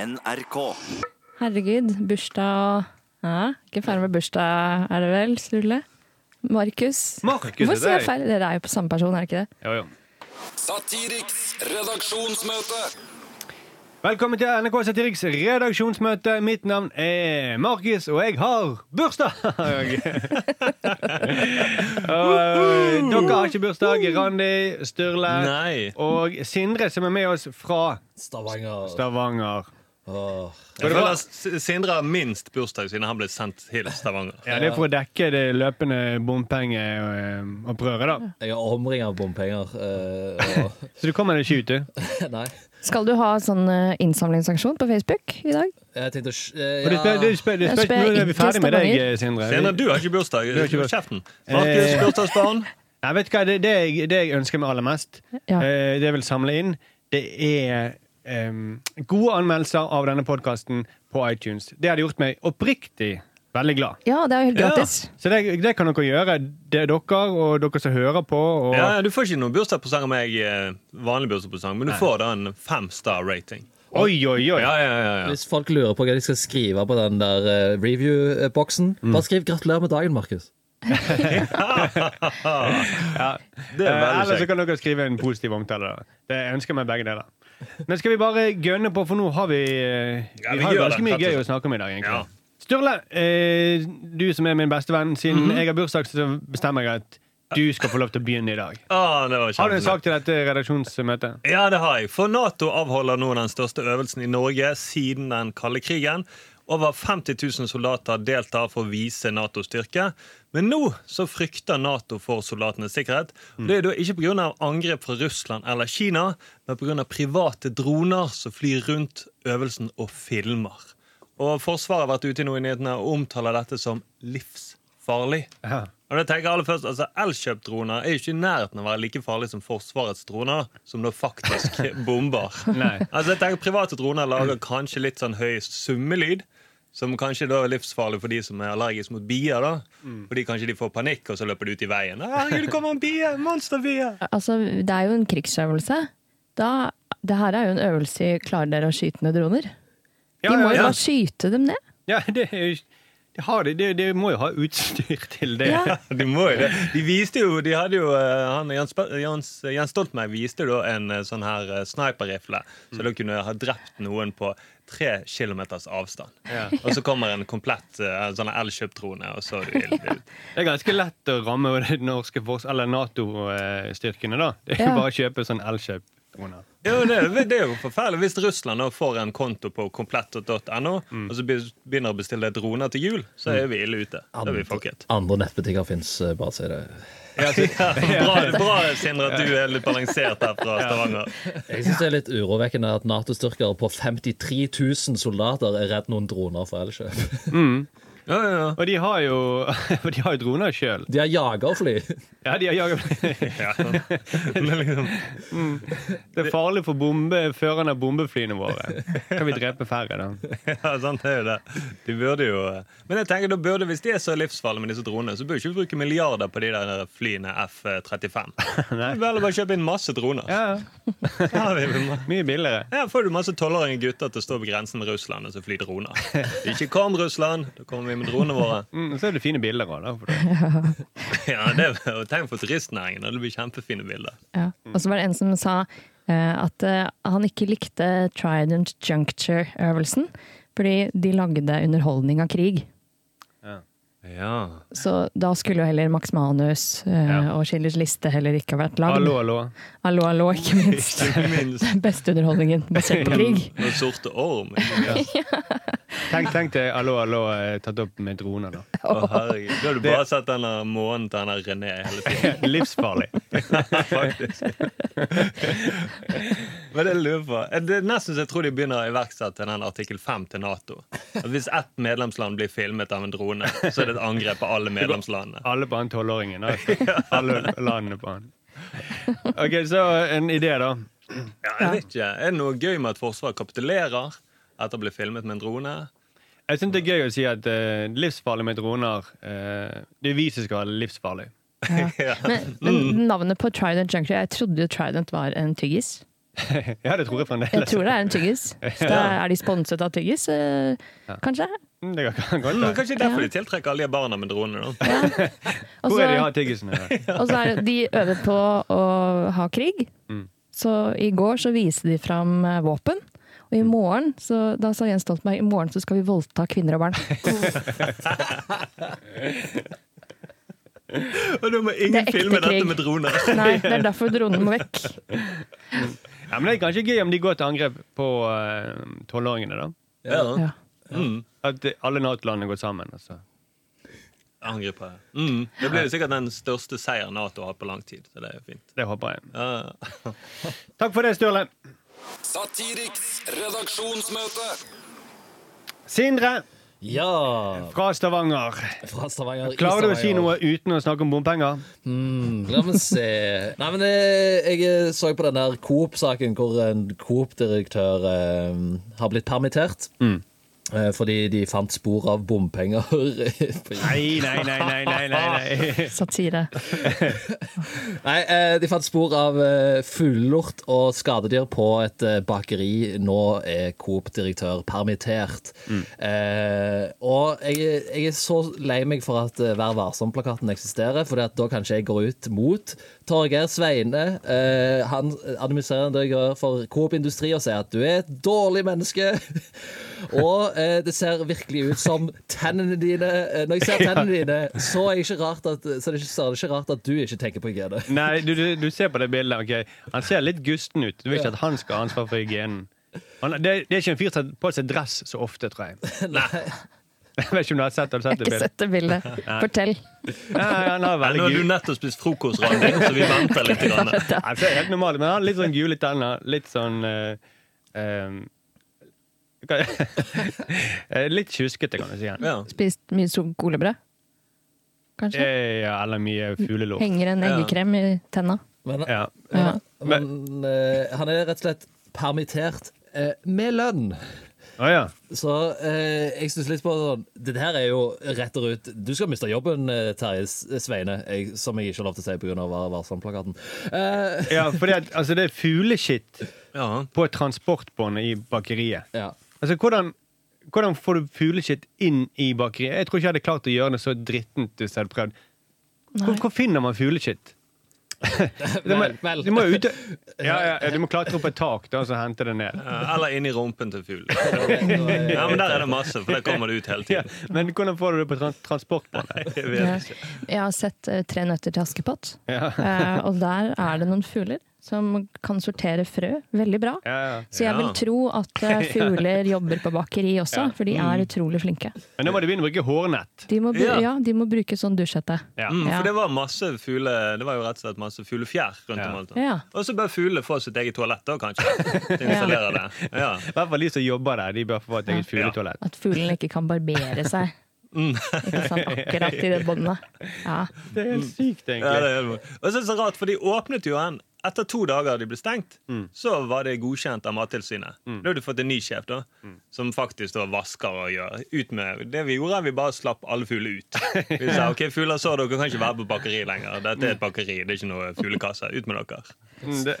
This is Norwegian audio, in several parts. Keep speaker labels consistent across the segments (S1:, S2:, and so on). S1: NRK.
S2: Herregud, bursdag ja, Ikke ferdig med bursdag, er det vel, Sturle? Markus.
S3: Markus,
S2: Hvorfor
S3: det
S2: sier
S3: er-
S2: jeg feil? Dere er jo på samme person, er det ikke det?
S3: Jo, jo.
S4: Satiriks redaksjonsmøte.
S3: Velkommen til NRK Satiriks redaksjonsmøte. Mitt navn er Markus, og jeg har bursdag! Og, eh, dere har ikke bursdag. Randi, Sturle
S5: Nei.
S3: og Sindre, som er med oss fra
S5: Stavanger.
S3: Stavanger.
S5: Jeg føler at S- Sindre har minst bursdag siden han ble sendt til Stavanger.
S3: Ja, Det er for å dekke det løpende bompengeopprøret, da.
S6: Jeg er omringet av bompenger. eh, og,
S3: Så du kommer deg ikke ut, du.
S6: nei.
S2: Skal du ha sånn eh, innsamlingsaksjon på Facebook i dag?
S6: Jeg tenkte å sk- eh,
S3: Og du spør, du
S6: ja.
S3: spør, du
S2: Jeg
S3: spør,
S2: spør
S3: nå er vi
S2: ikke
S3: ferdig med deg,
S2: Stavanger.
S3: Sindre.
S5: Sindre, du har ikke bursdag.
S3: har ikke bursdag.
S5: Kjeften. Markus,
S3: Eh.
S5: bursdagsbarn.
S3: Nei, vet du hva, det, det, jeg, det jeg ønsker meg aller mest,
S2: Ja.
S3: eh, det jeg vil samle inn, det er em, gode anmeldelser av denne podkasten på iTunes. Det hadde gjort meg oppriktig veldig glad.
S2: Ja, det er jo helt
S5: Ja.
S2: gratis.
S3: Så det, det kan dere gjøre, det er dere og dere som hører på. Og,
S5: Ja, du får ikke noen bursdagspresang av meg, eh, vanlig bursdagspresang, men du får da en fem star rating.
S3: Oi, oi, oi!
S5: Ja, ja, ja, ja.
S6: Hvis folk lurer på hva de skal skrive på den der eh, review-boksen,
S3: Mm.
S6: bare skriv 'gratulerer med dagen', Markus.
S5: Det er
S3: Eh, Eller
S5: veldig
S3: så
S5: kjekt.
S3: kan dere skrive en positiv omtale. da. Det jeg ønsker meg begge deler. Men skal vi bare gønne på, for nå har vi, eh,
S5: Ja, vi
S3: vi har
S5: gjør
S3: ganske
S5: det,
S3: mye
S5: rett og
S3: gøy å
S5: slett.
S3: snakke om i dag. egentlig.
S5: Ja.
S3: Sturle, eh, du som er min beste venn, siden
S5: Mhm.
S3: jeg har bursdag, så bestemmer jeg at du skal få lov til å begynne i dag.
S5: Ah, det var
S3: Har du en
S5: kjempeflott.
S3: sak til dette redaksjonsmøtet?
S5: Ja, det har jeg. For Nato avholder nå den største øvelsen i Norge siden den kalde krigen. Over 50 000 soldater deltar for å vise Natos styrke. Men nå så frykter Nato for soldatenes sikkerhet. Og det er da ikke pga. angrep fra Russland eller Kina, men pga. private droner som flyr rundt øvelsen og filmer. Og Forsvaret har vært ute i noen nyhetene og omtaler dette som livsfarlig.
S3: Ja.
S5: Og det tenker jeg aller først, altså Elkjøp-droner er jo ikke i nærheten av å være like farlig som Forsvarets droner, som da faktisk bomber.
S3: Nei.
S5: Altså jeg tenker Private droner lager kanskje litt sånn høy summelyd, som kanskje da er livsfarlig for de som er allergiske mot bier. da Fordi kanskje de får panikk, og så løper de ut i veien. «Å, Herregud, det kommer en bie! Monsterbie!
S2: Altså, det er jo en krigsøvelse. Da, det her er jo en øvelse i klarer dere å skyte ned droner?
S3: Ja,
S2: Vi må jo
S3: ja, ja.
S2: bare skyte dem ned.
S3: ja det, er jo- det, har de, det, det må jo ha utstyr til det.
S2: Ja.
S5: De må jo det. De viste jo, de hadde jo eh, han, Jens, Sp- Jens, Jens Stoltenberg viste jo da en eh, sånn her eh, sniperrifle, så da kunne ha drept noen på tre kilometers avstand. Og så kommer en komplett eh, sånn elkjøptrone, og så er du ild ut.
S3: Det er ganske lett å ramme det norske fors- eller Nato-styrkene, da. Det er jo
S2: Ja.
S3: bare å kjøpe sånn Elkjøp-droner.
S5: Jo, det, er- det er jo forferdelig hvis Russland nå får en konto på komplett.no, og så be- begynner å bestille droner til jul, så er vi ille ute. Da er vi fucket.
S6: Andre nettbutikker fins, bare si det.
S5: Ja, bra, bra, Sindre, at du er litt balansert her fra Stavanger.
S6: Jeg syns det er litt urovekkende at Nato-styrker på 53 000 soldater er redd noen droner for Elkjøp.
S5: Ja, ja, ja.
S3: Og de har jo, og de har jo droner sjøl.
S6: De har jagerfly.
S3: Ja, de har jaget
S5: ja. Men liksom,
S3: Det er farlig for bombe, føreren av bombeflyene våre. Kan vi drepe færre, da?
S5: Ja, sant, det er jo det. De burde jo eh, Men jeg tenker, da burde, hvis de er så livsfarlige med disse dronene, så burde vi ikke bruke milliarder på de der eh, flyene F-35.
S3: Nei.
S5: Vi bør heller bare kjøpe inn masse droner.
S3: Ja,
S5: Ja, vi-
S3: Mye billigere.
S5: ja, får du masse tolvårige gutter til å stå på grensen med Russland og så fly droner. Ikke kom, Russland! Da kommer vi med dronene våre.
S3: Mm, og så er det fine bilder òg, da. For det.
S5: Ja, det er, og Tenk for turistnæringen. Det blir kjempefine bilder.
S2: Ja.
S3: Mm.
S2: Og så var det en som sa eh, at eh, han ikke likte Trident Juncture-øvelsen, fordi de lagde underholdning av krig.
S5: Ja.
S2: Så da skulle jo heller Max Manus eh, og Schindlers liste heller ikke ha vært lagd.
S3: Hallo, hallo.
S2: hallo, hallo, ikke minst.
S5: Ikke minst.
S2: Den beste underholdningen basert på krig.
S5: Og sorte orm.
S3: Tenk, tenk deg hallo, hallo eh, tatt opp med droner, da.
S5: Å, herregud. Da har du bare sett den der månen til den der René hele tiden.
S3: Livsfarlig.
S5: faktisk. Men jeg lurer på Det er nesten så jeg tror de begynner å iverksette den artikkel 5 til Nato. At hvis ett medlemsland blir filmet av en drone, så er det et angrep på alle medlemslandene.
S3: Alle på han tolvåringen. da. Alle landene på han. Ok, så en idé, da.
S5: Ja, jeg vet ikke. Er det noe gøy med at Forsvaret kapitulerer etter å bli filmet med en drone?
S3: Jeg syns det er gøy å si at eh, livsfarlig med droner eh, Det er vi som skal ha det livsfarlig.
S5: Mm.
S2: Men, men navnet på Trident Juncture Jeg trodde jo Trident var en tyggis.
S3: ja, det tror jeg fremdeles.
S2: Jeg tror det er en tyggis. Så da er de sponset av tyggis, eh, kanskje?
S3: Mm, Det kan godt
S5: Men
S3: være.
S5: kanskje derfor de tiltrekker alle de barna med dronene. da.
S2: Og
S3: Hvor er de
S2: så-
S3: har tyggisene? da?
S2: og så er det- de øver på å ha krig.
S5: Mm.
S2: Så i går så viste de fram eh, våpen. Og i
S5: Mm.
S2: morgen, så, da sa Jens Stoltenberg, i morgen så skal vi voldta kvinner og barn.
S5: Og da må
S2: Det er
S5: ingen
S2: ekte
S5: filme dette
S2: krig.
S5: med droner.
S2: Nei, det er derfor dronen må vekk.
S3: Ja, men det er kanskje gøy om de går til angrep på eh, tolvåringene, da.
S5: Ja.
S2: Ja.
S5: Mm.
S3: At eh, alle Nato-landene går sammen. Altså.
S5: Angriper. Mm. Det blir jo sikkert den største seieren Nato har hatt på lang tid. Så det er jo fint.
S3: Det håper jeg.
S5: Ja.
S3: Takk for det, Sturle.
S4: Satiriks redaksjonsmøte.
S3: Sindre
S6: Ja,
S3: fra Stavanger.
S6: fra Stavanger i
S3: Klarer du å si
S6: Stavanger.
S3: noe uten å snakke om bompenger?
S6: Mm, La meg se Nei, men eh, jeg så på den der Coop-saken hvor en Coop-direktør eh, har blitt permittert. Eh, Fordi de fant spor av bompenger.
S3: Nei,
S6: Nei,
S3: nei, nei, nei, nei, nei, nei.
S2: Satire.
S6: eh, de fant spor av eh, fuglelort og skadedyr på et eh, bakeri. Nå er Coop-direktør permittert. Eh, og jeg, jeg er så lei meg for at eh, Vær varsom-plakaten eksisterer, for da kan ikke jeg gå ut mot Torgeir Sveine. Eh, han administrerende direktør for Coop Industri og sier at du er et dårlig menneske. og eh, det ser virkelig ut som tennene dine eh, Når jeg ser tennene dine, så er, jeg ikke rart at, så er det ikke, så er det ikke rart at du ikke tenker på hygiene.
S3: Nei, du, du, du ser på det bildet. ok? Han ser litt gusten ut. Du vil
S6: Ja.
S3: ikke at han skal ha ansvar for hygienen. Han, det, det er ikke en fyr som tar på seg dress så ofte, tror jeg. Jeg vet ikke om du har sett, har du
S2: Jeg har
S3: sett det
S2: ikke
S3: bildet.
S2: sett det bildet. Fortell.
S3: Nei, han har
S5: Nå
S3: veldig
S5: har du
S3: gul.
S5: nettopp spist frokost, Randi, så vi venter litt. Grann.
S3: Nei, for det er helt normalt, men han har litt sånn gule tenner. Litt sånn eh, ehm, hva- eh, Litt tjuskete, kan du si. Han.
S5: Ja.
S2: Spist mye skolebrød? Kanskje?
S3: Eh, Ja, eller mye fuglelort.
S2: Henger en
S5: Ja.
S2: eggekrem i tenna?
S6: Men,
S3: Ja.
S2: Ja.
S6: men eh, han er rett og slett permittert eh, med lønn.
S3: Å ja.
S6: Så eh, jeg stusser litt på sånn Det her er jo rett og rett Du skal miste jobben, eh, Terje S- Sveine, jeg, som jeg ikke har lov til å si pga. Vær varsom-plakaten. Eh,
S3: ja fordi at, altså, det er fugleskitt
S5: Ja.
S3: på transportbåndet i bakeriet.
S6: ja.
S3: Altså, hvordan, hvordan får du fugleskitt inn i bakeriet? Jeg tror ikke jeg hadde klart å gjøre det så drittent hvis jeg hadde prøvd. Hvor, hvor finner man fugleskitt? Du må,
S6: Vel, vel.
S3: du må jo ute ja, ja, ja, Du må klatre opp et tak da, og så hente det ned.
S5: Eh, Eller inni rumpen til fuglen. Ja, men der er det masse, for der kommer det ut hele
S3: Ja,
S5: tiden.
S3: men hvordan får du det på trans transportbåndet?
S5: Jeg vet
S2: Ja.
S5: ikke.
S2: Jeg har sett eh, Tre nøtter til Askepott,
S3: Ja.
S2: eh, og der er det noen fugler som kan sortere frø veldig bra.
S3: Ja, ja.
S2: Så jeg vil
S5: Ja.
S2: tro at eh, fugler jobber på bakeri også, for de
S3: Mm.
S2: er utrolig flinke.
S3: Men da må du begynne å bruke hårnett.
S2: De må, bru
S5: Ja.
S2: ja, de må bruke sånn dusjhette.
S3: Ja.
S5: Mm,
S2: Ja.
S5: for det var masse fugle Det var jo rett og slett masse fuglefjær rundt om alt.
S2: Ja.
S5: Og så bør fuglene få sitt eget toalett da, kanskje. Til å installere det. Ja.
S3: I hvert fall de som jobber der, de bør få et eget fugletoalett.
S2: At fuglen ikke kan barbere seg.
S3: Mm.
S2: Ikke sant? Akkurat i det båndet. Ja.
S3: Det er helt sykt,
S5: Ja, det
S3: egentlig.
S5: er helt- Og så er det så rart, for de åpnet jo en etter to dager de ble stengt, så var det godkjent av Mattilsynet. Da hadde du fått en ny sjef, da, som faktisk da vasker og gjør. Ut med Det vi gjorde, er vi bare slapp alle fugler ut. Vi sa OK, fugler så dere kan ikke være på bakeri lenger. Dette er et bakeri, det er ikke noe fuglekasse. Ut med dere.
S3: Mm, det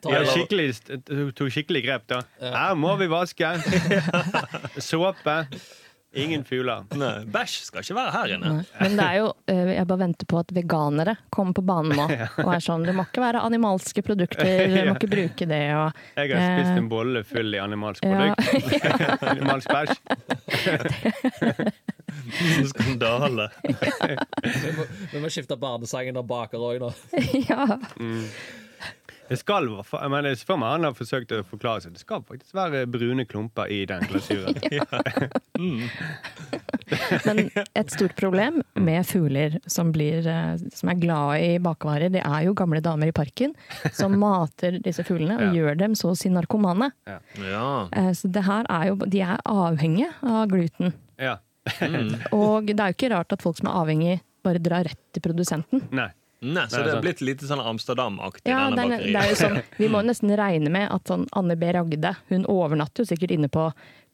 S3: de har skikkelig, st- tok skikkelig grep, da. Her må vi vaske. Såpe. Ingen fugler.
S5: Nei, Bæsj skal ikke være her inne.
S2: Men det er jo, eh, jeg bare venter på at veganere kommer på banen nå. Og er sånn, Det må ikke være animalske produkter, vi må ikke bruke det. Og,
S3: Jeg har spist
S2: eh,
S3: en bolle full i animalsk
S2: ja.
S3: produkt. animalsk bæsj.
S5: Skandale.
S6: Vi må, vi må skifte barnesangen av baker òg nå.
S2: ja.
S3: Det skal være fa- men jeg spør meg, han har forsøkt å forklare seg. Det skal faktisk være brune klumper i den glasuren.
S2: Men et stort problem med fugler som, blir, eh, som er glade i bakvarer, det er jo gamle damer i parken som mater disse fuglene og
S3: Ja.
S2: gjør dem så å si narkomane.
S5: Ja.
S2: Eh, Så det her er jo, de er avhengige av gluten.
S3: Ja.
S2: Og det er jo ikke rart at folk som er avhengig, bare drar rett til produsenten.
S3: Nei.
S5: Nei, så
S3: Nei,
S5: det er
S3: sant.
S5: blitt litt sånn Amsterdam-aktig,
S2: Ja, det
S5: denne
S2: er, det er jo
S5: bakeriet.
S2: sånn, Vi må nesten regne med at sånn Anne B. Ragde hun overnatter jo sikkert inne på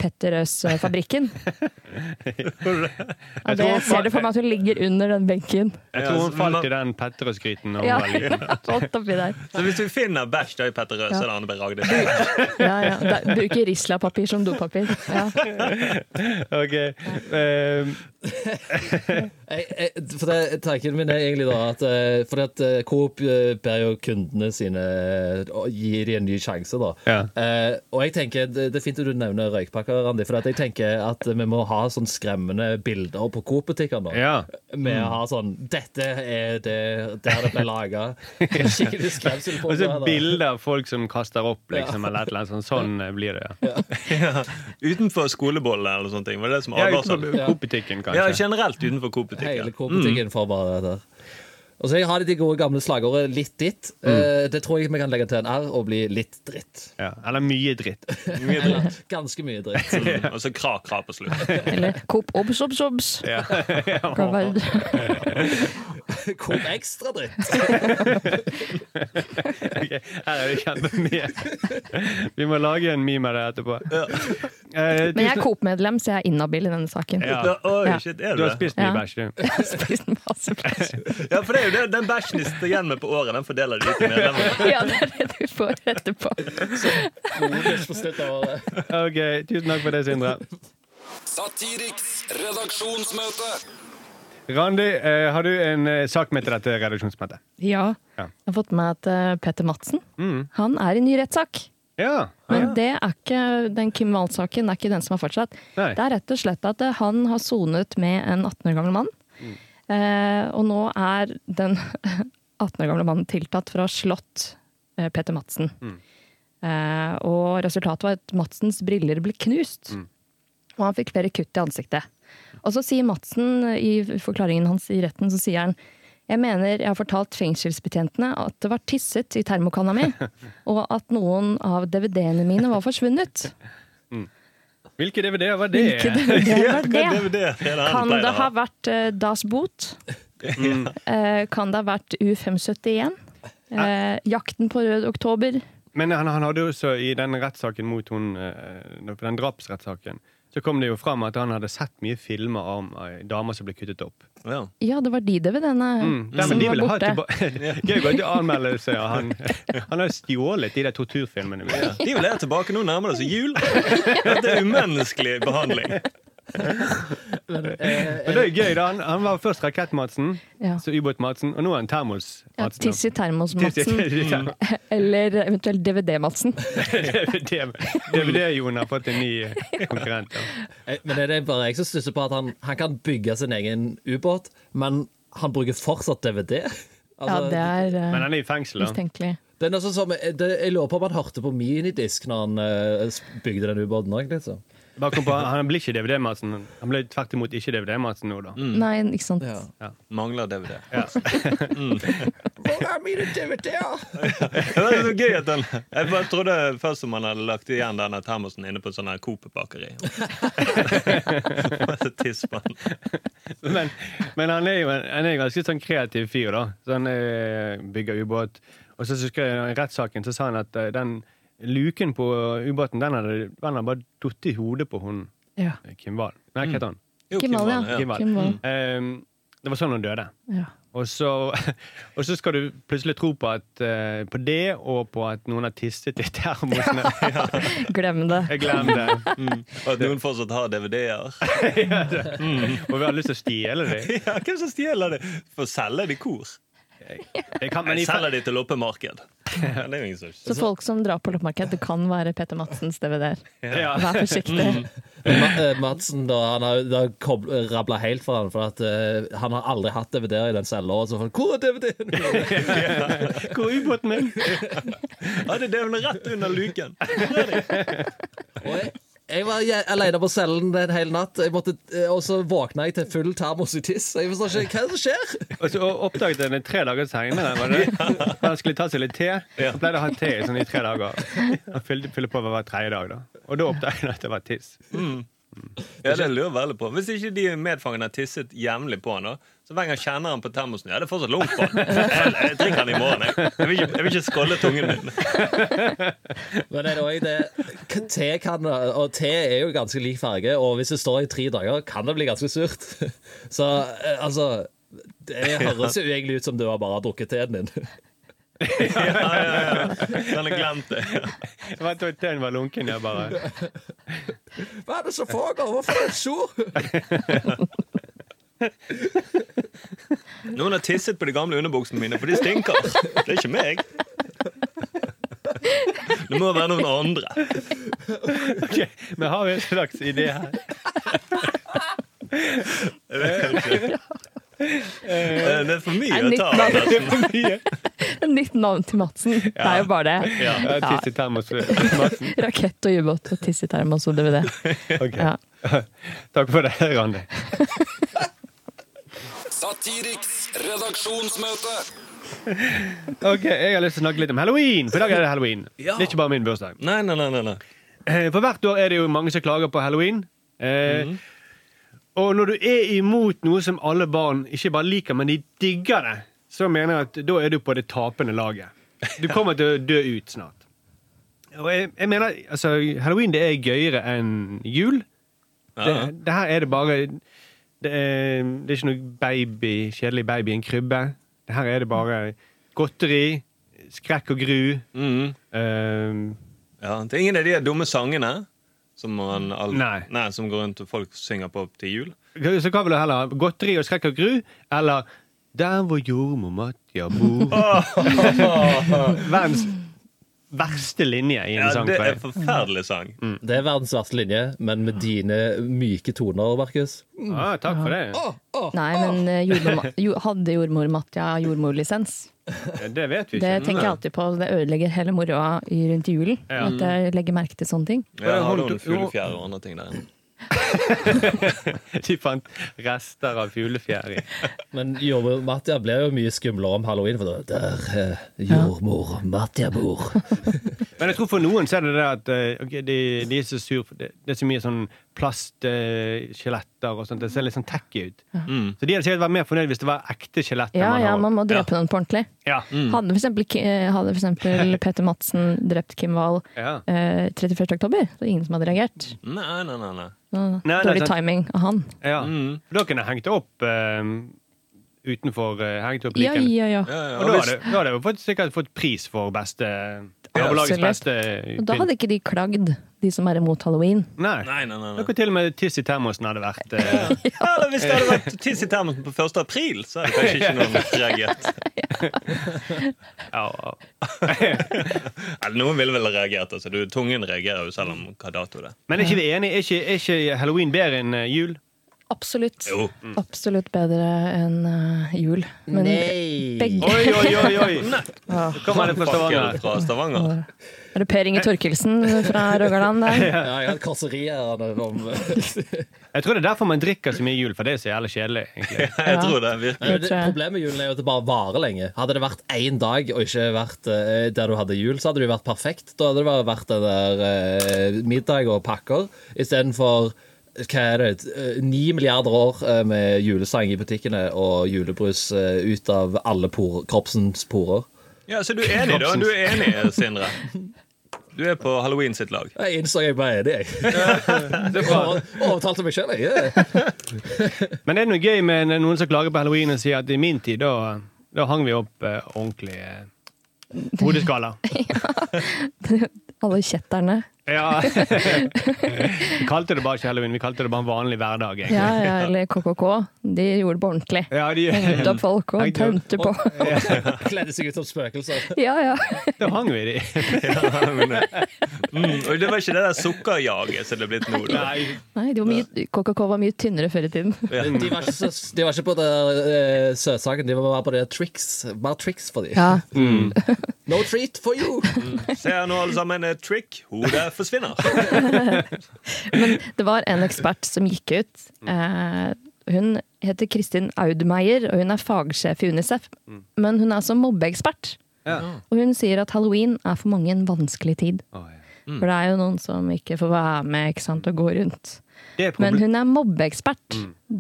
S2: Petter eh, Øes-fabrikken. Ja, det
S3: tror-
S2: ser det for meg at hun ligger under den benken.
S3: Jeg tror
S5: Ja,
S3: hun
S5: så-
S3: falt i den Petterøes-gryten. da hun
S2: Ja,
S3: var liten.
S2: alt oppi der.
S5: Så hvis vi finner bæsj, da er Petter Røe, så er det Anne B. Ragde.
S2: Ja, ja. Da, bruker Risla-papir som dopapir. Ja.
S3: Ok, eh,
S6: Jeg, jeg, eh, for det, tanken min er egentlig da at eh, Fordi at eh, Coop eh, ber jo kundene sine å gi dem en ny sjanse, da.
S3: Ja.
S6: Eh, og jeg tenker, det, det er fint at du nevner røykpakker, Randi, for at jeg tenker at vi må ha sånn skremmende bilder på Coop-butikkene. da.
S3: Ja. Mm.
S6: Med å ha sånn 'Dette er det der det ble laga'. Skikkelig
S3: Og så
S6: skremselprogram. da.
S3: bilder av folk som kaster opp, liksom. Eller et eller annet sånt. Sånn eh, blir det, ja.
S5: Utenfor skolebollen eller sånne ting. Var det det som
S3: Ja,
S5: advarsel?
S3: utenfor Coop-butikken,
S5: Ja,
S3: kanskje.
S5: generelt utenfor
S6: Hele
S3: Mm.
S5: Coop-butikken.
S6: Coop-butikken får bare det der. Og så har de det gode gamle slagordet 'litt ditt'.
S3: Mm.
S6: Eh, det tror jeg vi kan legge til en R og bli litt dritt.
S3: Ja. Eller mye dritt.
S5: Mye dritt.
S6: Eller ganske mye dritt.
S3: sånn.
S5: Mm, Og så kra-kra på slutten.
S2: Eller Coop obs, obs, obs.
S3: Ja.
S2: Kan være-
S6: Kom ekstra dritt.
S3: Ok, Her er det kjempemye. Vi må lage en meme av det etterpå. Eh,
S2: Men jeg er
S3: tusen-
S2: Coop-medlem, så jeg er inhabil i denne saken.
S3: Ja.
S5: Da, oi,
S2: Ja.
S5: shit, er
S3: Du
S5: du
S3: har
S5: det?
S3: spist mye
S2: Ja.
S3: bæsj, du.
S2: Jeg har spist masse bæsj.
S5: Ja, for det er jo det, den bæsjen de sitter igjen med på året, den fordeler de ut til medlemmene.
S2: Ja, det er det du får etterpå.
S6: Bonus på slutt av året.
S3: Ok, Tusen takk for det, Sindre.
S4: Satiriks redaksjonsmøte.
S3: Randi, eh, har du en eh, sak med til dette redaksjonsmøtet?
S2: Ja.
S3: Ja. Mm.
S2: Jeg har fått med at eh, Petter Madsen han er i ny rettssak.
S3: Ah, Ja.
S2: Men det er ikke, den Kim Wahl-saken er ikke den som har fortsatt.
S3: Nei.
S2: Det er rett og slett at eh, han har sonet med en 18 år gammel mann. Eh, og nå er den 18 år gamle mannen tiltatt for å ha slått eh, Peter Madsen. Eh, og resultatet var at Madsens briller ble knust. Og han fikk flere kutt i ansiktet. Og så sier Madsen eh, i forklaringen hans i retten, så sier han jeg mener jeg har fortalt fengselsbetjentene at det var tisset i termokanna mi, og at noen av DVD-ene mine var forsvunnet.
S3: Hvilke DVD-er var det?
S2: Hvilke DVD-er var
S5: Hva
S2: det?
S5: DVD er det han
S2: Kan
S5: pleier
S2: det
S5: å
S2: ha
S5: ha?
S2: vært eh, Das Boot? Eh, kan det ha vært U571? Eh, jakten på rød oktober?
S3: Men han, han hadde jo også i den rettssaken mot hun eh, Den drapsrettssaken Så kom det jo fram at han hadde sett mye filmer om eh, damer som ble kuttet opp.
S5: Ja.
S2: Ja, det var de DVD-ene
S3: Mm. Ja, men
S2: Mm. som
S3: de
S2: var
S3: ville ha
S2: borte.
S3: tilba- Gøy å anmelde seg av han. Han har stjålet de der torturfilmene mine.
S5: De vil ha tilbake nå nærmer det seg jul. Dette er umenneskelig behandling.
S3: Men det er gøy da, Han, han var først Rakett-Madsen,
S2: Ja.
S3: så Ubåt-Madsen, og nå er han
S2: Ja,
S3: Termos-Madsen.
S2: Tiss i termos-Madsen, eller eventuelt DVD-Madsen. Mm.
S3: DVD-Jon har fått en ny eh, konkurrent. ja.
S6: Eh, Men er det bare jeg som stusser på at han, han kan bygge sin egen ubåt, men han bruker fortsatt DVD?
S2: Ja,
S6: Altså,
S2: det er eh,
S3: Men han er i fengsel, da.
S2: mistenkelig.
S6: det er noe sånn som, det, jeg lurer på om han hørte på minidisk når han eh, s- bygde den ubåten òg, liksom.
S3: Bare kom på, han blir ikke DVD-Madsen. Han ble tvert imot ikke DVD-Madsen nå, da.
S5: Mm.
S2: Nei, ikke sant.
S6: Ja.
S5: Mangler DVD.
S6: Hvor er mine DVD-er?
S5: Det var så gøy at den, jeg bare trodde først om han hadde lagt igjen denne termosen inne på et sånt her Coop-bakeri. Og så tisser på han.
S3: Men, men han er jo en, han er en ganske sånn kreativ fyr, da. Så han eh, bygger ubåt. Og så husker jeg i rettssaken så sa han at eh, den luken på ubåten, den hadde, den hadde bare falt i hodet på hun
S2: Ja.
S3: eh, Kim Wahl. Nei, hva heter han?
S5: Jo,
S2: Kim Wahl, ja.
S3: Kim Wahl.
S2: Kim Wahl.
S3: Eh, det var sånn hun døde.
S2: Ja.
S3: Og så, og så skal du plutselig tro på, at, eh, på det, og på at noen har tisset i termosene. Ja,
S2: Glem det.
S3: jeg glemmer det.
S2: Mm.
S5: Og at noen fortsatt har DVD-er.
S2: Mm.
S3: Og vi har lyst til å stjele det.
S5: Ja, hvem som stjeler det? For selger de kor?
S3: Jeg kan, men
S5: Nei,
S3: i, fe-
S5: selger de til loppemarked. Ja, det er jo ingen som
S2: Så folk som drar på loppemarked, det kan være Peter Madsens DVD-er.
S3: ja.
S2: Vær forsiktig.
S6: Ma eh, Madsen da, han har, det har kobl- rabla helt for han, for at eh, han har aldri hatt DVD-er i den cella. og så får han, Hvor er DVD-en?
S3: Hvor er ubåten min?
S5: Hadde døvene rett under luken.
S6: Og jeg, jeg var je- alene på cellen en hel natt, jeg måtte, eh, og så våkna jeg til full termos i tiss. Jeg forstår ikke hva som skjer.
S3: Og så oppdaget jeg det tre dager senere. Var det? Han skulle ta seg litt te. Han pleide å ha te i sånn i tre dager. Han fylte, fylte på hver tredje dag. da Og da oppdaget han at det var tiss.
S5: Ja, det lurer jeg veldig på. Hvis ikke de medfangene har tisset jevnlig på han, da, så hver gang jeg kjenner han på termosen Ja, det er fortsatt lunk på han. Jeg, jeg drikker han i morgen, jeg. Jeg vil ikke, jeg vil ikke skålle tungen min.
S6: Men er det også det k- Te kan Og te er jo ganske lik farge, og hvis det står i tre dager, kan det bli ganske surt. Så eh, altså Det høres jo egentlig ut som du har bare drukket teen din.
S5: Ja, ja, ja. Han har glemt det. Ja.
S3: Jeg vet at teen var lunken, jeg bare.
S6: Hva er det som foregår? Hvorfor er det sur?
S5: Noen har tisset på de gamle underbuksene mine, for de stinker. Det er ikke meg. Det må være noen andre.
S3: Ok, Men har vi en slags idé her?
S5: Eh, Det er for mye
S2: Er
S5: å
S2: nytt
S5: ta
S2: navn.
S5: av.
S3: Det er for mye.
S2: Nytt navn til Madsen. Det er jo bare det.
S5: Mm. Ja.
S3: Jeg har tiss i termos. Madsen.
S2: Rakett og ubåt og tiss i termos og DVD.
S3: Ok.
S2: Ja.
S3: Takk for det, Randi.
S4: Satiriks redaksjonsmøte.
S3: Ok, Jeg har lyst til å snakke litt om halloween, for i dag er det halloween.
S5: Ja.
S3: Det er ikke bare min bursdag.
S5: Nei, nei, nei. nei, nei.
S3: Eh, For hvert år er det jo mange som klager på halloween. Eh, Og når du er imot noe som alle barn ikke bare liker, men de digger det, så mener jeg at da er du på det tapende laget. Du kommer til å dø ut snart. Og jeg, jeg mener, altså, Halloween det er gøyere enn jul. Det,
S5: Ja.
S3: det her er det bare Det er, det er ikke noe baby, kjedelig baby i en krybbe. Det her er det bare godteri, skrekk og gru.
S5: Mhm.
S3: eh,
S5: Ja, det er ingen av de dumme sangene som, man all...
S3: Nei.
S5: som går rundt og folk synger på til jul.
S3: Så hva vil du heller ha? Godteri og skrekk og gru? Eller Der hvor jordmor Matja bor? Verdens verste linje i en
S5: Ah. Ja,
S3: sang. Mm.
S5: det
S3: tror
S5: er
S3: jeg.
S5: en forferdelig sang.
S6: Det er verdens verste linje, men med dine myke toner, Markus.
S3: Ah, takk for det.
S2: Nei, men eh, jordmor, jo, hadde jordmor Matja jordmorlisens?
S3: Ja, Det vet vi
S2: Det
S3: ikke.
S2: tenker jeg alltid på. Det ødelegger hele moroa i- rundt julen.
S3: Ja.
S2: At jeg legger merke til sånne ting.
S5: Ja, har
S3: Hun-
S5: noen fuglefjær og andre ting der inne.
S3: De fant rester av fuglefjær i.
S6: Men jordmor Matja blir jo mye skumlere om halloween, for det er der eh, jordmor Matja bor.
S3: Men jeg tror for noen så er det det at eh, ok, de, de er så sur for det, det er så mye sånn plastskjeletter og sånt. Det ser litt sånn tacky ut.
S5: Mm.
S3: Så de hadde sikkert vært mer fornøyd hvis det var ekte skjeletter.
S2: Ja,
S3: man
S2: ja,
S3: har.
S2: man må drepe noen på ordentlig.
S3: ja. Mm.
S2: Hadde for eksempel, Ki- eh, hadde for eksempel Peter Madsen drept Kim Wahl
S3: Ja.
S2: eh, 31. oktober, så ingen som hadde reagert.
S5: Nei, nei, nei. nei.
S2: Så
S3: Nei, det er
S2: Dårlig
S3: sant.
S2: timing av han.
S3: Ja. For da kunne jeg hengt det opp eh, utenfor eh, hengt opp
S2: Ja,
S3: liken.
S2: ja, ja.
S5: Ja, ja,
S3: Og da
S5: og
S3: hadde
S5: hvis,
S3: da hadde jeg jo fått, sikkert fått pris for beste Nabolagets
S2: Absolutt.
S3: beste eh,
S2: Og da hadde ikke de klagd, de som er imot halloween.
S3: Nei.
S5: nei, nei, nei, nei.
S3: Noe til og med tiss i termosen hadde vært eh,
S5: Eller hvis det hadde vært tiss i termosen på 1. april, så hadde kanskje ikke noen reagert.
S3: ja, ja.
S5: Eller noen ville vel ha reagert. Altså. Du, tungen reagerer jo selv om hva dato det er.
S3: Men er ikke vi enige? Er ikke, er ikke halloween bedre enn eh, jul?
S2: Absolutt.
S5: Jo.
S2: Absolutt bedre enn eh, jul. Men begge
S3: Oi, oi, oi! oi. Så kommer det fra
S5: Fakkel
S3: Stavanger.
S5: fra Stavanger.
S2: Er det Per Inge Torkelsen fra Rogaland der?
S6: Ja, jeg har korserier om
S3: Jeg tror det er derfor man drikker så mye jul, for det er så jævlig kjedelig. egentlig.
S5: Jeg tror det, virkelig.
S6: Men
S2: Det
S6: det,
S2: tror jeg.
S6: problemet med julen er jo at det bare varer lenge. Hadde det vært én dag og ikke vært eh, der du hadde jul, så hadde det jo vært perfekt. Da hadde det bare vært det der eh, middag og pakker istedenfor hva er det, eh, ni milliarder år eh, med julesang i butikkene og julebrus eh, ut av alle por kroppsens porer.
S5: Ja, så du er enig, da? Du er enig, Sindre? Du er på halloween sitt lag.
S6: Jeg innså jeg bare er enig, jeg.
S3: Det er bra.
S6: Over- Overtalte meg sjøl, jeg. Yeah.
S3: Men er det noe gøy med noen som klager på halloween og sier at i min tid, da, da hang vi opp eh, ordentlig eh, hodeskaller?
S2: Alle kjetterne.
S3: Ja. vi kalte det bare ikke halloween, vi kalte det bare en vanlig hverdag. egentlig.
S2: Ja, ja, eller KKK. De gjorde det på ordentlig.
S3: Ja, de,
S2: Hengte opp folk og
S3: Hengte opp.
S2: tømte på.
S6: Kledde seg ut som spøkelser.
S2: Ja, ja.
S3: da hang vi de. eh,
S5: Mm, og det var ikke det der sukkerjaget som det er blitt nå, da.
S3: Nei.
S2: Nei, det var mye, KKK var mye tynnere før i tiden.
S6: De var ikke, så, de var ikke på det eh, søtsaken, de var bare på det tricks. Bare tricks for de.
S2: Ja.
S6: No treat for you!
S5: Se her nå, alle sammen. eh, Trick. Hodet forsvinner.
S2: Det var en ekspert som gikk ut. Eh, hun heter Kristin Audmeier, og hun er fagsjef i Unicef. Men hun er også mobbeekspert.
S3: Ja.
S2: Og hun sier at halloween er for mange en vanskelig tid.
S3: Å, ja.
S2: For det er jo noen som ikke får være med ikke sant, og gå rundt.
S3: Det er proble-
S2: Men hun er mobbeekspert.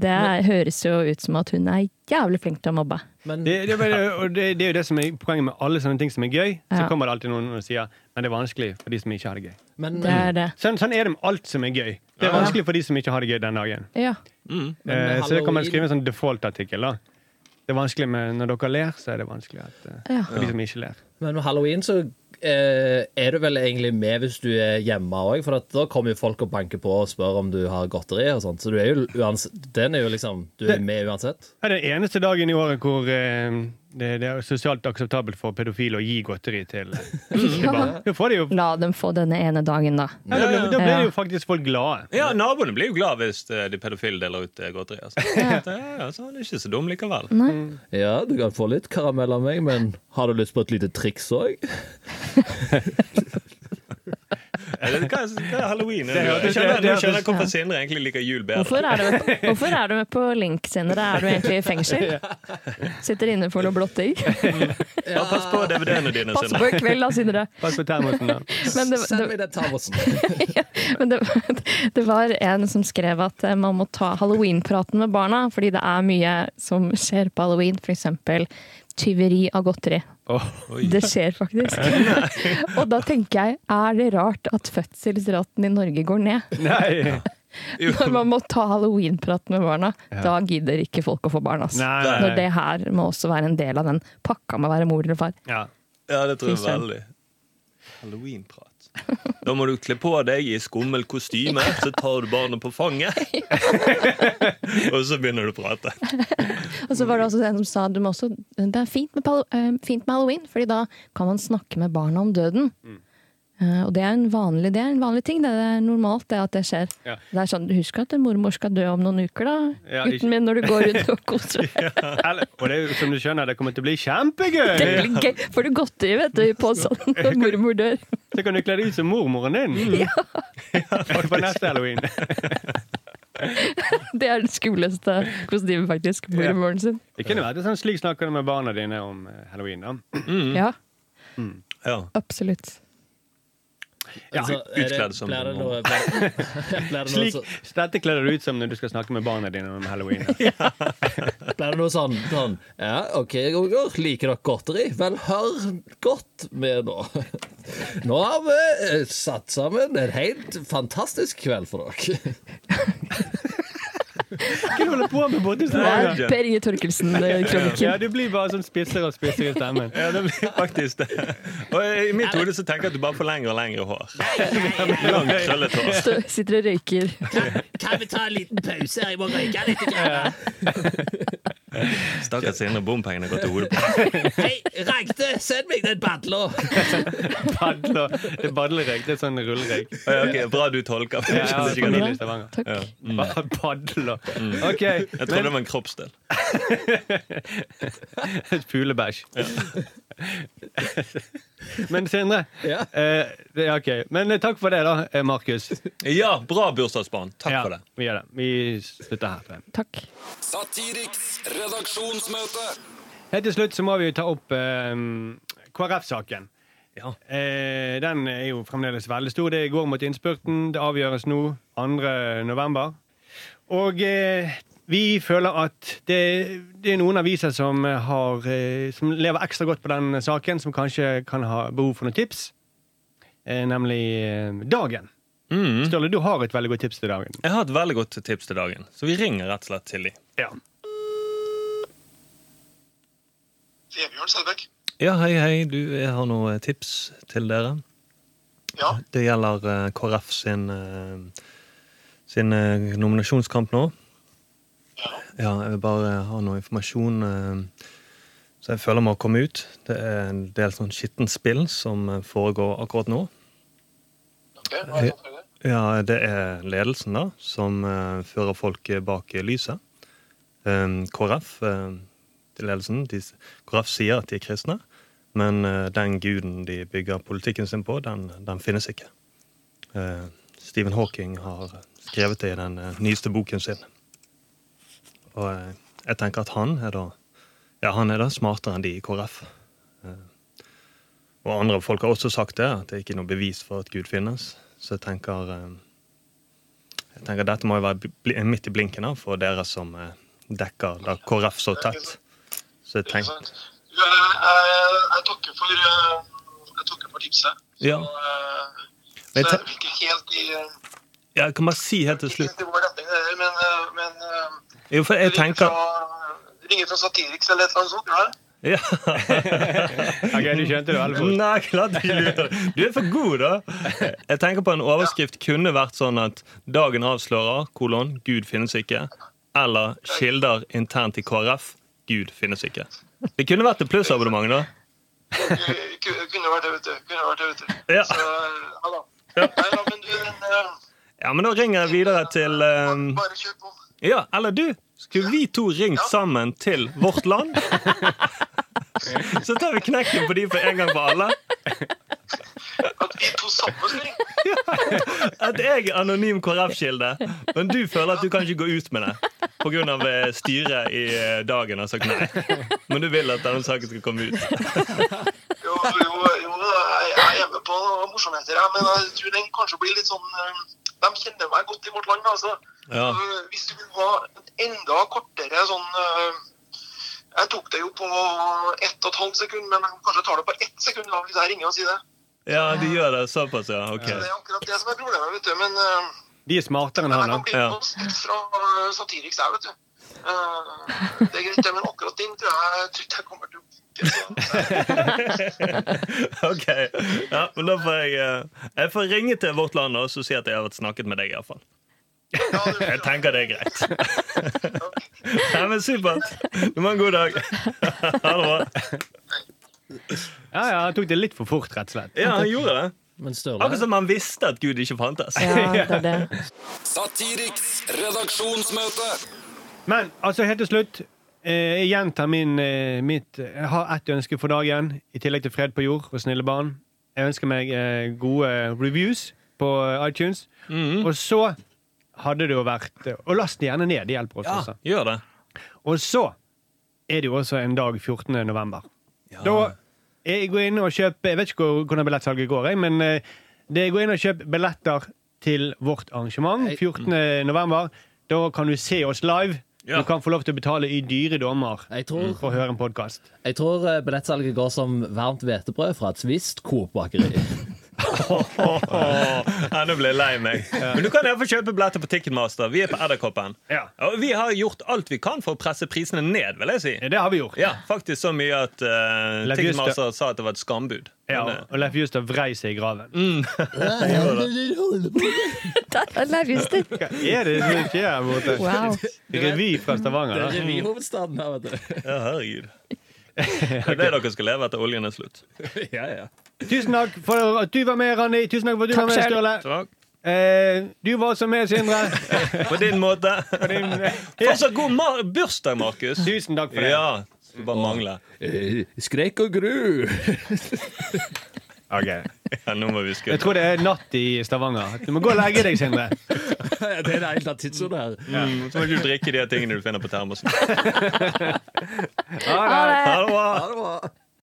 S2: Det er- høres jo ut som at hun er jævlig flink til å mobbe.
S6: Men
S3: Det, det, er bare- og det, det er jo det som er poenget med alle sånne ting som er gøy.
S2: Ja.
S3: Så kommer det alltid noen og sier men det er vanskelig for de som ikke har det gøy.
S6: Men,
S2: Det er det.
S3: Sånn, sånn er det med alt som er gøy. Det er vanskelig for de som ikke har det gøy den dagen.
S2: Ja.
S6: men
S3: Eh, så det kan man
S6: halloween-
S3: skrive en sånn default-artikkel. da. Det er vanskelig med Når dere ler, så er det vanskelig at, eh,
S2: Ja.
S3: for de som ikke ler.
S6: Men med halloween så eh, er du vel egentlig med hvis du er hjemme òg, for at da kommer jo folk og banker på og spør om du har godteri og sånt. Så du er jo uans den er jo liksom Du er
S3: Det-
S6: med uansett.
S3: Det er den eneste dagen i året hvor eh, det, det er sosialt akseptabelt for pedofile å gi godteri til, eh, til barn. Da får de jo, ja,
S2: La dem få denne ene dagen, da.
S3: da blir, da blir
S2: Mm. Ja.
S3: jo faktisk folk glade.
S5: Ja, Naboene blir jo glad hvis eh, de pedofile deler ut eh, godteri. Altså. Ja. Ja, så han er ikke så dum likevel.
S6: Ja, du kan få litt karamell av meg, men har du lyst på et lite triks òg?
S5: Eh, Det, hva, hva er halloween?
S3: Det hørtes-
S5: Jeg skjønner,
S3: det
S5: nå
S3: hørtes-
S5: skjønner jeg hvorfor Sindre egentlig liker jul bedre.
S2: Hvorfor er, du med på, hvorfor er du med på Link, Sindre? Er du egentlig i fengsel? Sitter inne for noe blotting?
S5: Ja, pass på DVD-ene dine,
S2: Pass på
S5: Sindre.
S2: i kveld, da, Sindre.
S3: Pass på termosen, da.
S2: Men det,
S6: Send
S2: det,
S6: meg den termosen.
S2: men det, det var en som skrev at eh, man må ta halloweenpraten med barna, fordi det er mye som skjer på halloween. F.eks. tyveri av godteri. Det skjer faktisk. Og da tenker jeg, er det rart at fødselsraten i Norge går ned?
S3: Nei.
S2: Når man må ta halloweenprat med barna, da gidder ikke folk å få barn. ass.
S3: Nei, nei.
S2: Når det her må også være en del av den pakka med å være mor eller far.
S3: Ja.
S5: Ja, det tror jeg
S2: Tusen.
S5: veldig. Halloweenprat. Da må du kle på deg i skummel kostyme, så tar du barnet på fanget. Og så begynner du å prate.
S2: Og så var det også en som sa du må også, det er fint med, pal- eh, fint med halloween, fordi da kan man snakke med barna om døden.
S3: Mm.
S2: Eh, og det er, en vanlig, det er en vanlig ting. Det er normalt det at det skjer.
S3: Ja.
S2: Det er sånn, Husk at en mormor skal dø om noen uker, da.
S3: Ja,
S2: Gutten
S3: ikke-
S2: min, når du går rundt og koser deg.
S3: Eller, og det er jo som du skjønner, det kommer til å bli
S2: Det
S3: kjempegøy!
S2: blir gøy. Får du godteri vet du, på sånn når mormor dør?
S3: Så kan du kle deg ut som mormoren din
S2: Ja,
S3: på neste halloween.
S2: det er det skumleste kostymet, faktisk. Mormoren sin.
S3: Det kunne vært sånn slik snakker du med barna dine om eh, halloween. da.
S2: Ja,
S5: Ja.
S2: absolutt.
S3: Ja,
S6: Altså, er det-
S5: utkledd som
S6: blir det
S5: en
S6: noe- blir- Blir det noe
S3: Slik,
S6: så-
S2: altså-
S3: dette kler du ut som når du skal snakke med barna dine om halloween.
S6: blir det noe sånn, sånn Ja, OK, unger, liker dere godteri? Vel, hør godt med nå. Nå har vi eh, satt sammen en helt fantastisk kveld for dere.
S3: Hva du holder på med borti
S2: Det
S3: stedet?
S2: er Per Inge eh, Torkelsen-kronikken.
S3: Ja, du blir bare sånn spissere og spissere i stemmen.
S5: Ja, det blir faktisk det. Og i mitt hode så tenker jeg at du bare får lengre og lengre hår. Langt, krøllete hår.
S2: Sitter og røyker.
S6: Kan vi ta en liten pause her? Jeg må røyke litt.
S5: Stakkars Sindre, bompengene går til hodet på.
S6: Hei, Ragde, send meg den badla!
S3: Padler. Det er badlereg. Det er sånn rullereg.
S5: Ja, ok, Bra du tolker. for
S3: Jeg
S5: Jeg
S3: har
S5: skjønte ikke hva
S3: familie i
S5: det-
S3: Stavanger.
S2: Takk.
S5: Ja.
S3: Bare Padler. OK.
S5: Mm. Jeg trodde det var en kroppsdel.
S3: Men fuglebæsj. Men Sindre
S6: Ja.
S3: eh, det, ja, OK. Men eh, takk for det, da, eh, Markus.
S5: Ja, bra bursdagsbarn. Takk for det.
S3: Ja, vi gjør det. Vi slutter her.
S2: Takk.
S4: Satiriks redaksjonsmøte.
S3: Helt til slutt så må vi jo ta opp eh, KrF-saken.
S5: Ja.
S3: Eh, den er jo fremdeles veldig stor. Det går mot innspurten. Det avgjøres nå 2. november. Og eh, vi føler at det, det er noen aviser som, har, eh, som lever ekstra godt på den saken, som kanskje kan ha behov for noen tips, eh, nemlig eh, Dagen.
S5: Mhm.
S3: Ståle, du har et veldig godt tips til Dagen.
S5: Jeg har et veldig godt tips til dagen, så vi ringer rett og slett til de.
S3: Ja.
S1: Vebjørn Sædbekk.
S5: Ja, hei, hei. Du, jeg har noen tips til dere.
S1: Ja,
S5: Det gjelder eh, KrF sin, eh, sin eh, nominasjonskamp nå.
S1: ja.
S5: Ja, jeg vil bare ha noe informasjon eh, så jeg føler må komme ut. Det er en del sånn skittent spill som eh, foregår akkurat nå. Eh,
S1: Ok, hva er det for det?
S5: Ja, det er ledelsen da, som eh, fører folk bak lyset. Eh, KrF, eh, til ledelsen, de, s- KrF sier at de er kristne, men eh, den guden de bygger politikken sin på, den, den finnes ikke. Eh, Stephen Hawking har skrevet det i den eh, nyeste boken sin. Og eh, jeg tenker at han er da, ja, han er da smartere enn de i KrF. Eh, Og andre folk har også sagt det, at det er ikke noe bevis for at Gud finnes. Så jeg tenker, eh, jeg tenker dette må jo være bli- midt i blinken da, for dere som eh, dekker da KrF så tett. Så jeg
S1: Ikke
S5: tenker,
S1: sant? Du, jeg, jeg, jeg takker for eh, Jeg takker for tipset. Så,
S5: Ja.
S1: eh,
S5: Men
S1: så
S5: ta-
S1: jeg vil ikke helt i, eh,
S5: jeg kan bare si helt til
S1: ikke
S5: slutt
S1: helt i vår retning, det der, men, eh, men eh,
S5: Jo, for jeg
S1: ringer
S5: tenker
S1: fra, ringer fra Satiriks eller et eller annet sånt. gjør det?
S5: ja.
S3: Ok, du skjønte det veldig fort.
S5: Nei, klart ikke lurt av det. Du er for god, da! Jeg tenker på en overskrift kunne vært sånn at 'Dagen avslører', kolon, 'Gud finnes ikke'. Eller 'Kilder internt i KrF', 'Gud finnes ikke'. Det kunne vært et plussabonnement, da.
S1: Ku- ku- Kunne vært det, vet du. Kunne vært det, vet du.
S5: Ja.
S1: Så, ja da. Nei da, men du, men,
S5: Ja, men da ringer jeg videre til
S1: eh,
S5: eh,
S1: bare kjør på.
S5: Ja, eller du! Skulle vi to ringt sammen til Vårt Land? Så tar vi knekken på de for en gang for alle.
S1: At vi to sammen skal ringe.
S5: At jeg er anonym KrF-kilde, men du føler at du kan ikke gå ut med det pga. styret i eh, dagen har sagt nei. Men du vil at denne saken skal komme ut.
S1: Jo, jo, jo jeg, jeg er med på morsomheter, jeg, men jeg tror den kanskje blir litt sånn eh, De kjenner meg godt i vårt land, altså.
S5: Ja.
S1: Eh, Hvis du vil ha et enda kortere sånn eh, Jeg tok det jo på ett og et halvt sekund, men jeg kanskje tar det på ett sekund da, hvis jeg ringer og sier det.
S5: Ja, de gjør det såpass, ja. Ok.
S1: Så Det er akkurat det som er problemet, vet du. Men eh,
S3: De er smartere enn
S1: Jeg
S3: han,
S1: kan
S3: da.
S1: bli
S5: Ja.
S1: med noen snitt fra eh, Satiriks der, vet du. Eh, det er greit, det, men akkurat din tror jeg, jeg tror ikke jeg kommer til å bruke. så-
S5: Ok, ja, men da får jeg eh, Jeg får ringe til Vårt Land og så si at jeg har vært snakket med deg, iallfall.
S1: Ja, det-
S5: Jeg tenker det er greit. Nei, men Supert. Du må ha en god dag. Ha det bra.
S3: Ja, ja, Han tok det litt for fort, rett og slett.
S5: Ja, han gjorde det.
S6: Men Sturle
S5: Akkurat som han visste at Gud ikke fantes.
S2: Ja, det er det.
S4: Satiriks redaksjonsmøte.
S3: Men altså, helt til slutt eh, Jeg gjentar min, eh, mitt Jeg har ett ønske for dagen, i tillegg til fred på jord og snille barn. Jeg ønsker meg eh, gode reviews på eh, iTunes. Og så hadde det jo vært eh, Og last det gjerne ned. Det hjelper oss også.
S5: Gjør det.
S3: Og så er det jo også en dag 14. november. Da jeg går inn og kjøper Jeg vet ikke hvor- hvordan billettsalget går, jeg, men eh, det jeg går inn og kjøper billetter til vårt arrangement 14. november. Da kan du se oss live.
S5: Ja.
S3: Du kan få lov til å betale i dyre dommer
S6: Jeg tror-
S3: for å høre en podkast.
S6: Jeg tror eh, billettsalget går som varmt hvetebrød fra et visst Coop-bakeri.
S5: Ja, nå ble jeg lei meg. Men du kan iallfall kjøpe billetter på Ticketmaster. Vi er på Edderkoppen.
S3: Ja.
S5: Og vi har gjort alt vi kan for å presse prisene ned, vil jeg si.
S3: Det har vi gjort.
S5: Ja, faktisk så mye at eh,
S3: Leif
S5: Ticketmaster sa at det var et skambud.
S3: Ja,
S5: Men, eh,
S3: og Leif Justad vrei seg i graven.
S2: Der er Leif Juster.
S3: Hva er det som skjer her borte?
S2: Wow.
S3: Revy fra Stavanger. da.
S6: Revyhovedstaden her, vet
S5: eh, ja, herregud. Det er det dere skal leve etter oljen er slutt.
S6: du. Ja, ja.
S3: Tusen takk for at du var med, Randi. Tusen takk for at du
S2: Takk
S3: var med,
S2: selv.
S3: Sturle.
S5: Takk.
S3: Eh, du var også med, Sindre.
S5: På din måte. Fortsatt god ma bursdag, Markus.
S3: Tusen takk for det.
S5: Ja. Skulle bare mangle.
S6: Eh, Skrekk og gru.
S5: Ja, nå må vi
S3: Jeg
S5: skru.
S3: tror det er natt i Stavanger. Du må gå og legge deg, Sindre.
S6: Ja, det er det eneste tidsordet her.
S5: Mm, Så må ikke du drikke de her tingene du finner på termosen.
S3: Ha det.
S5: Ha det bra.
S6: det var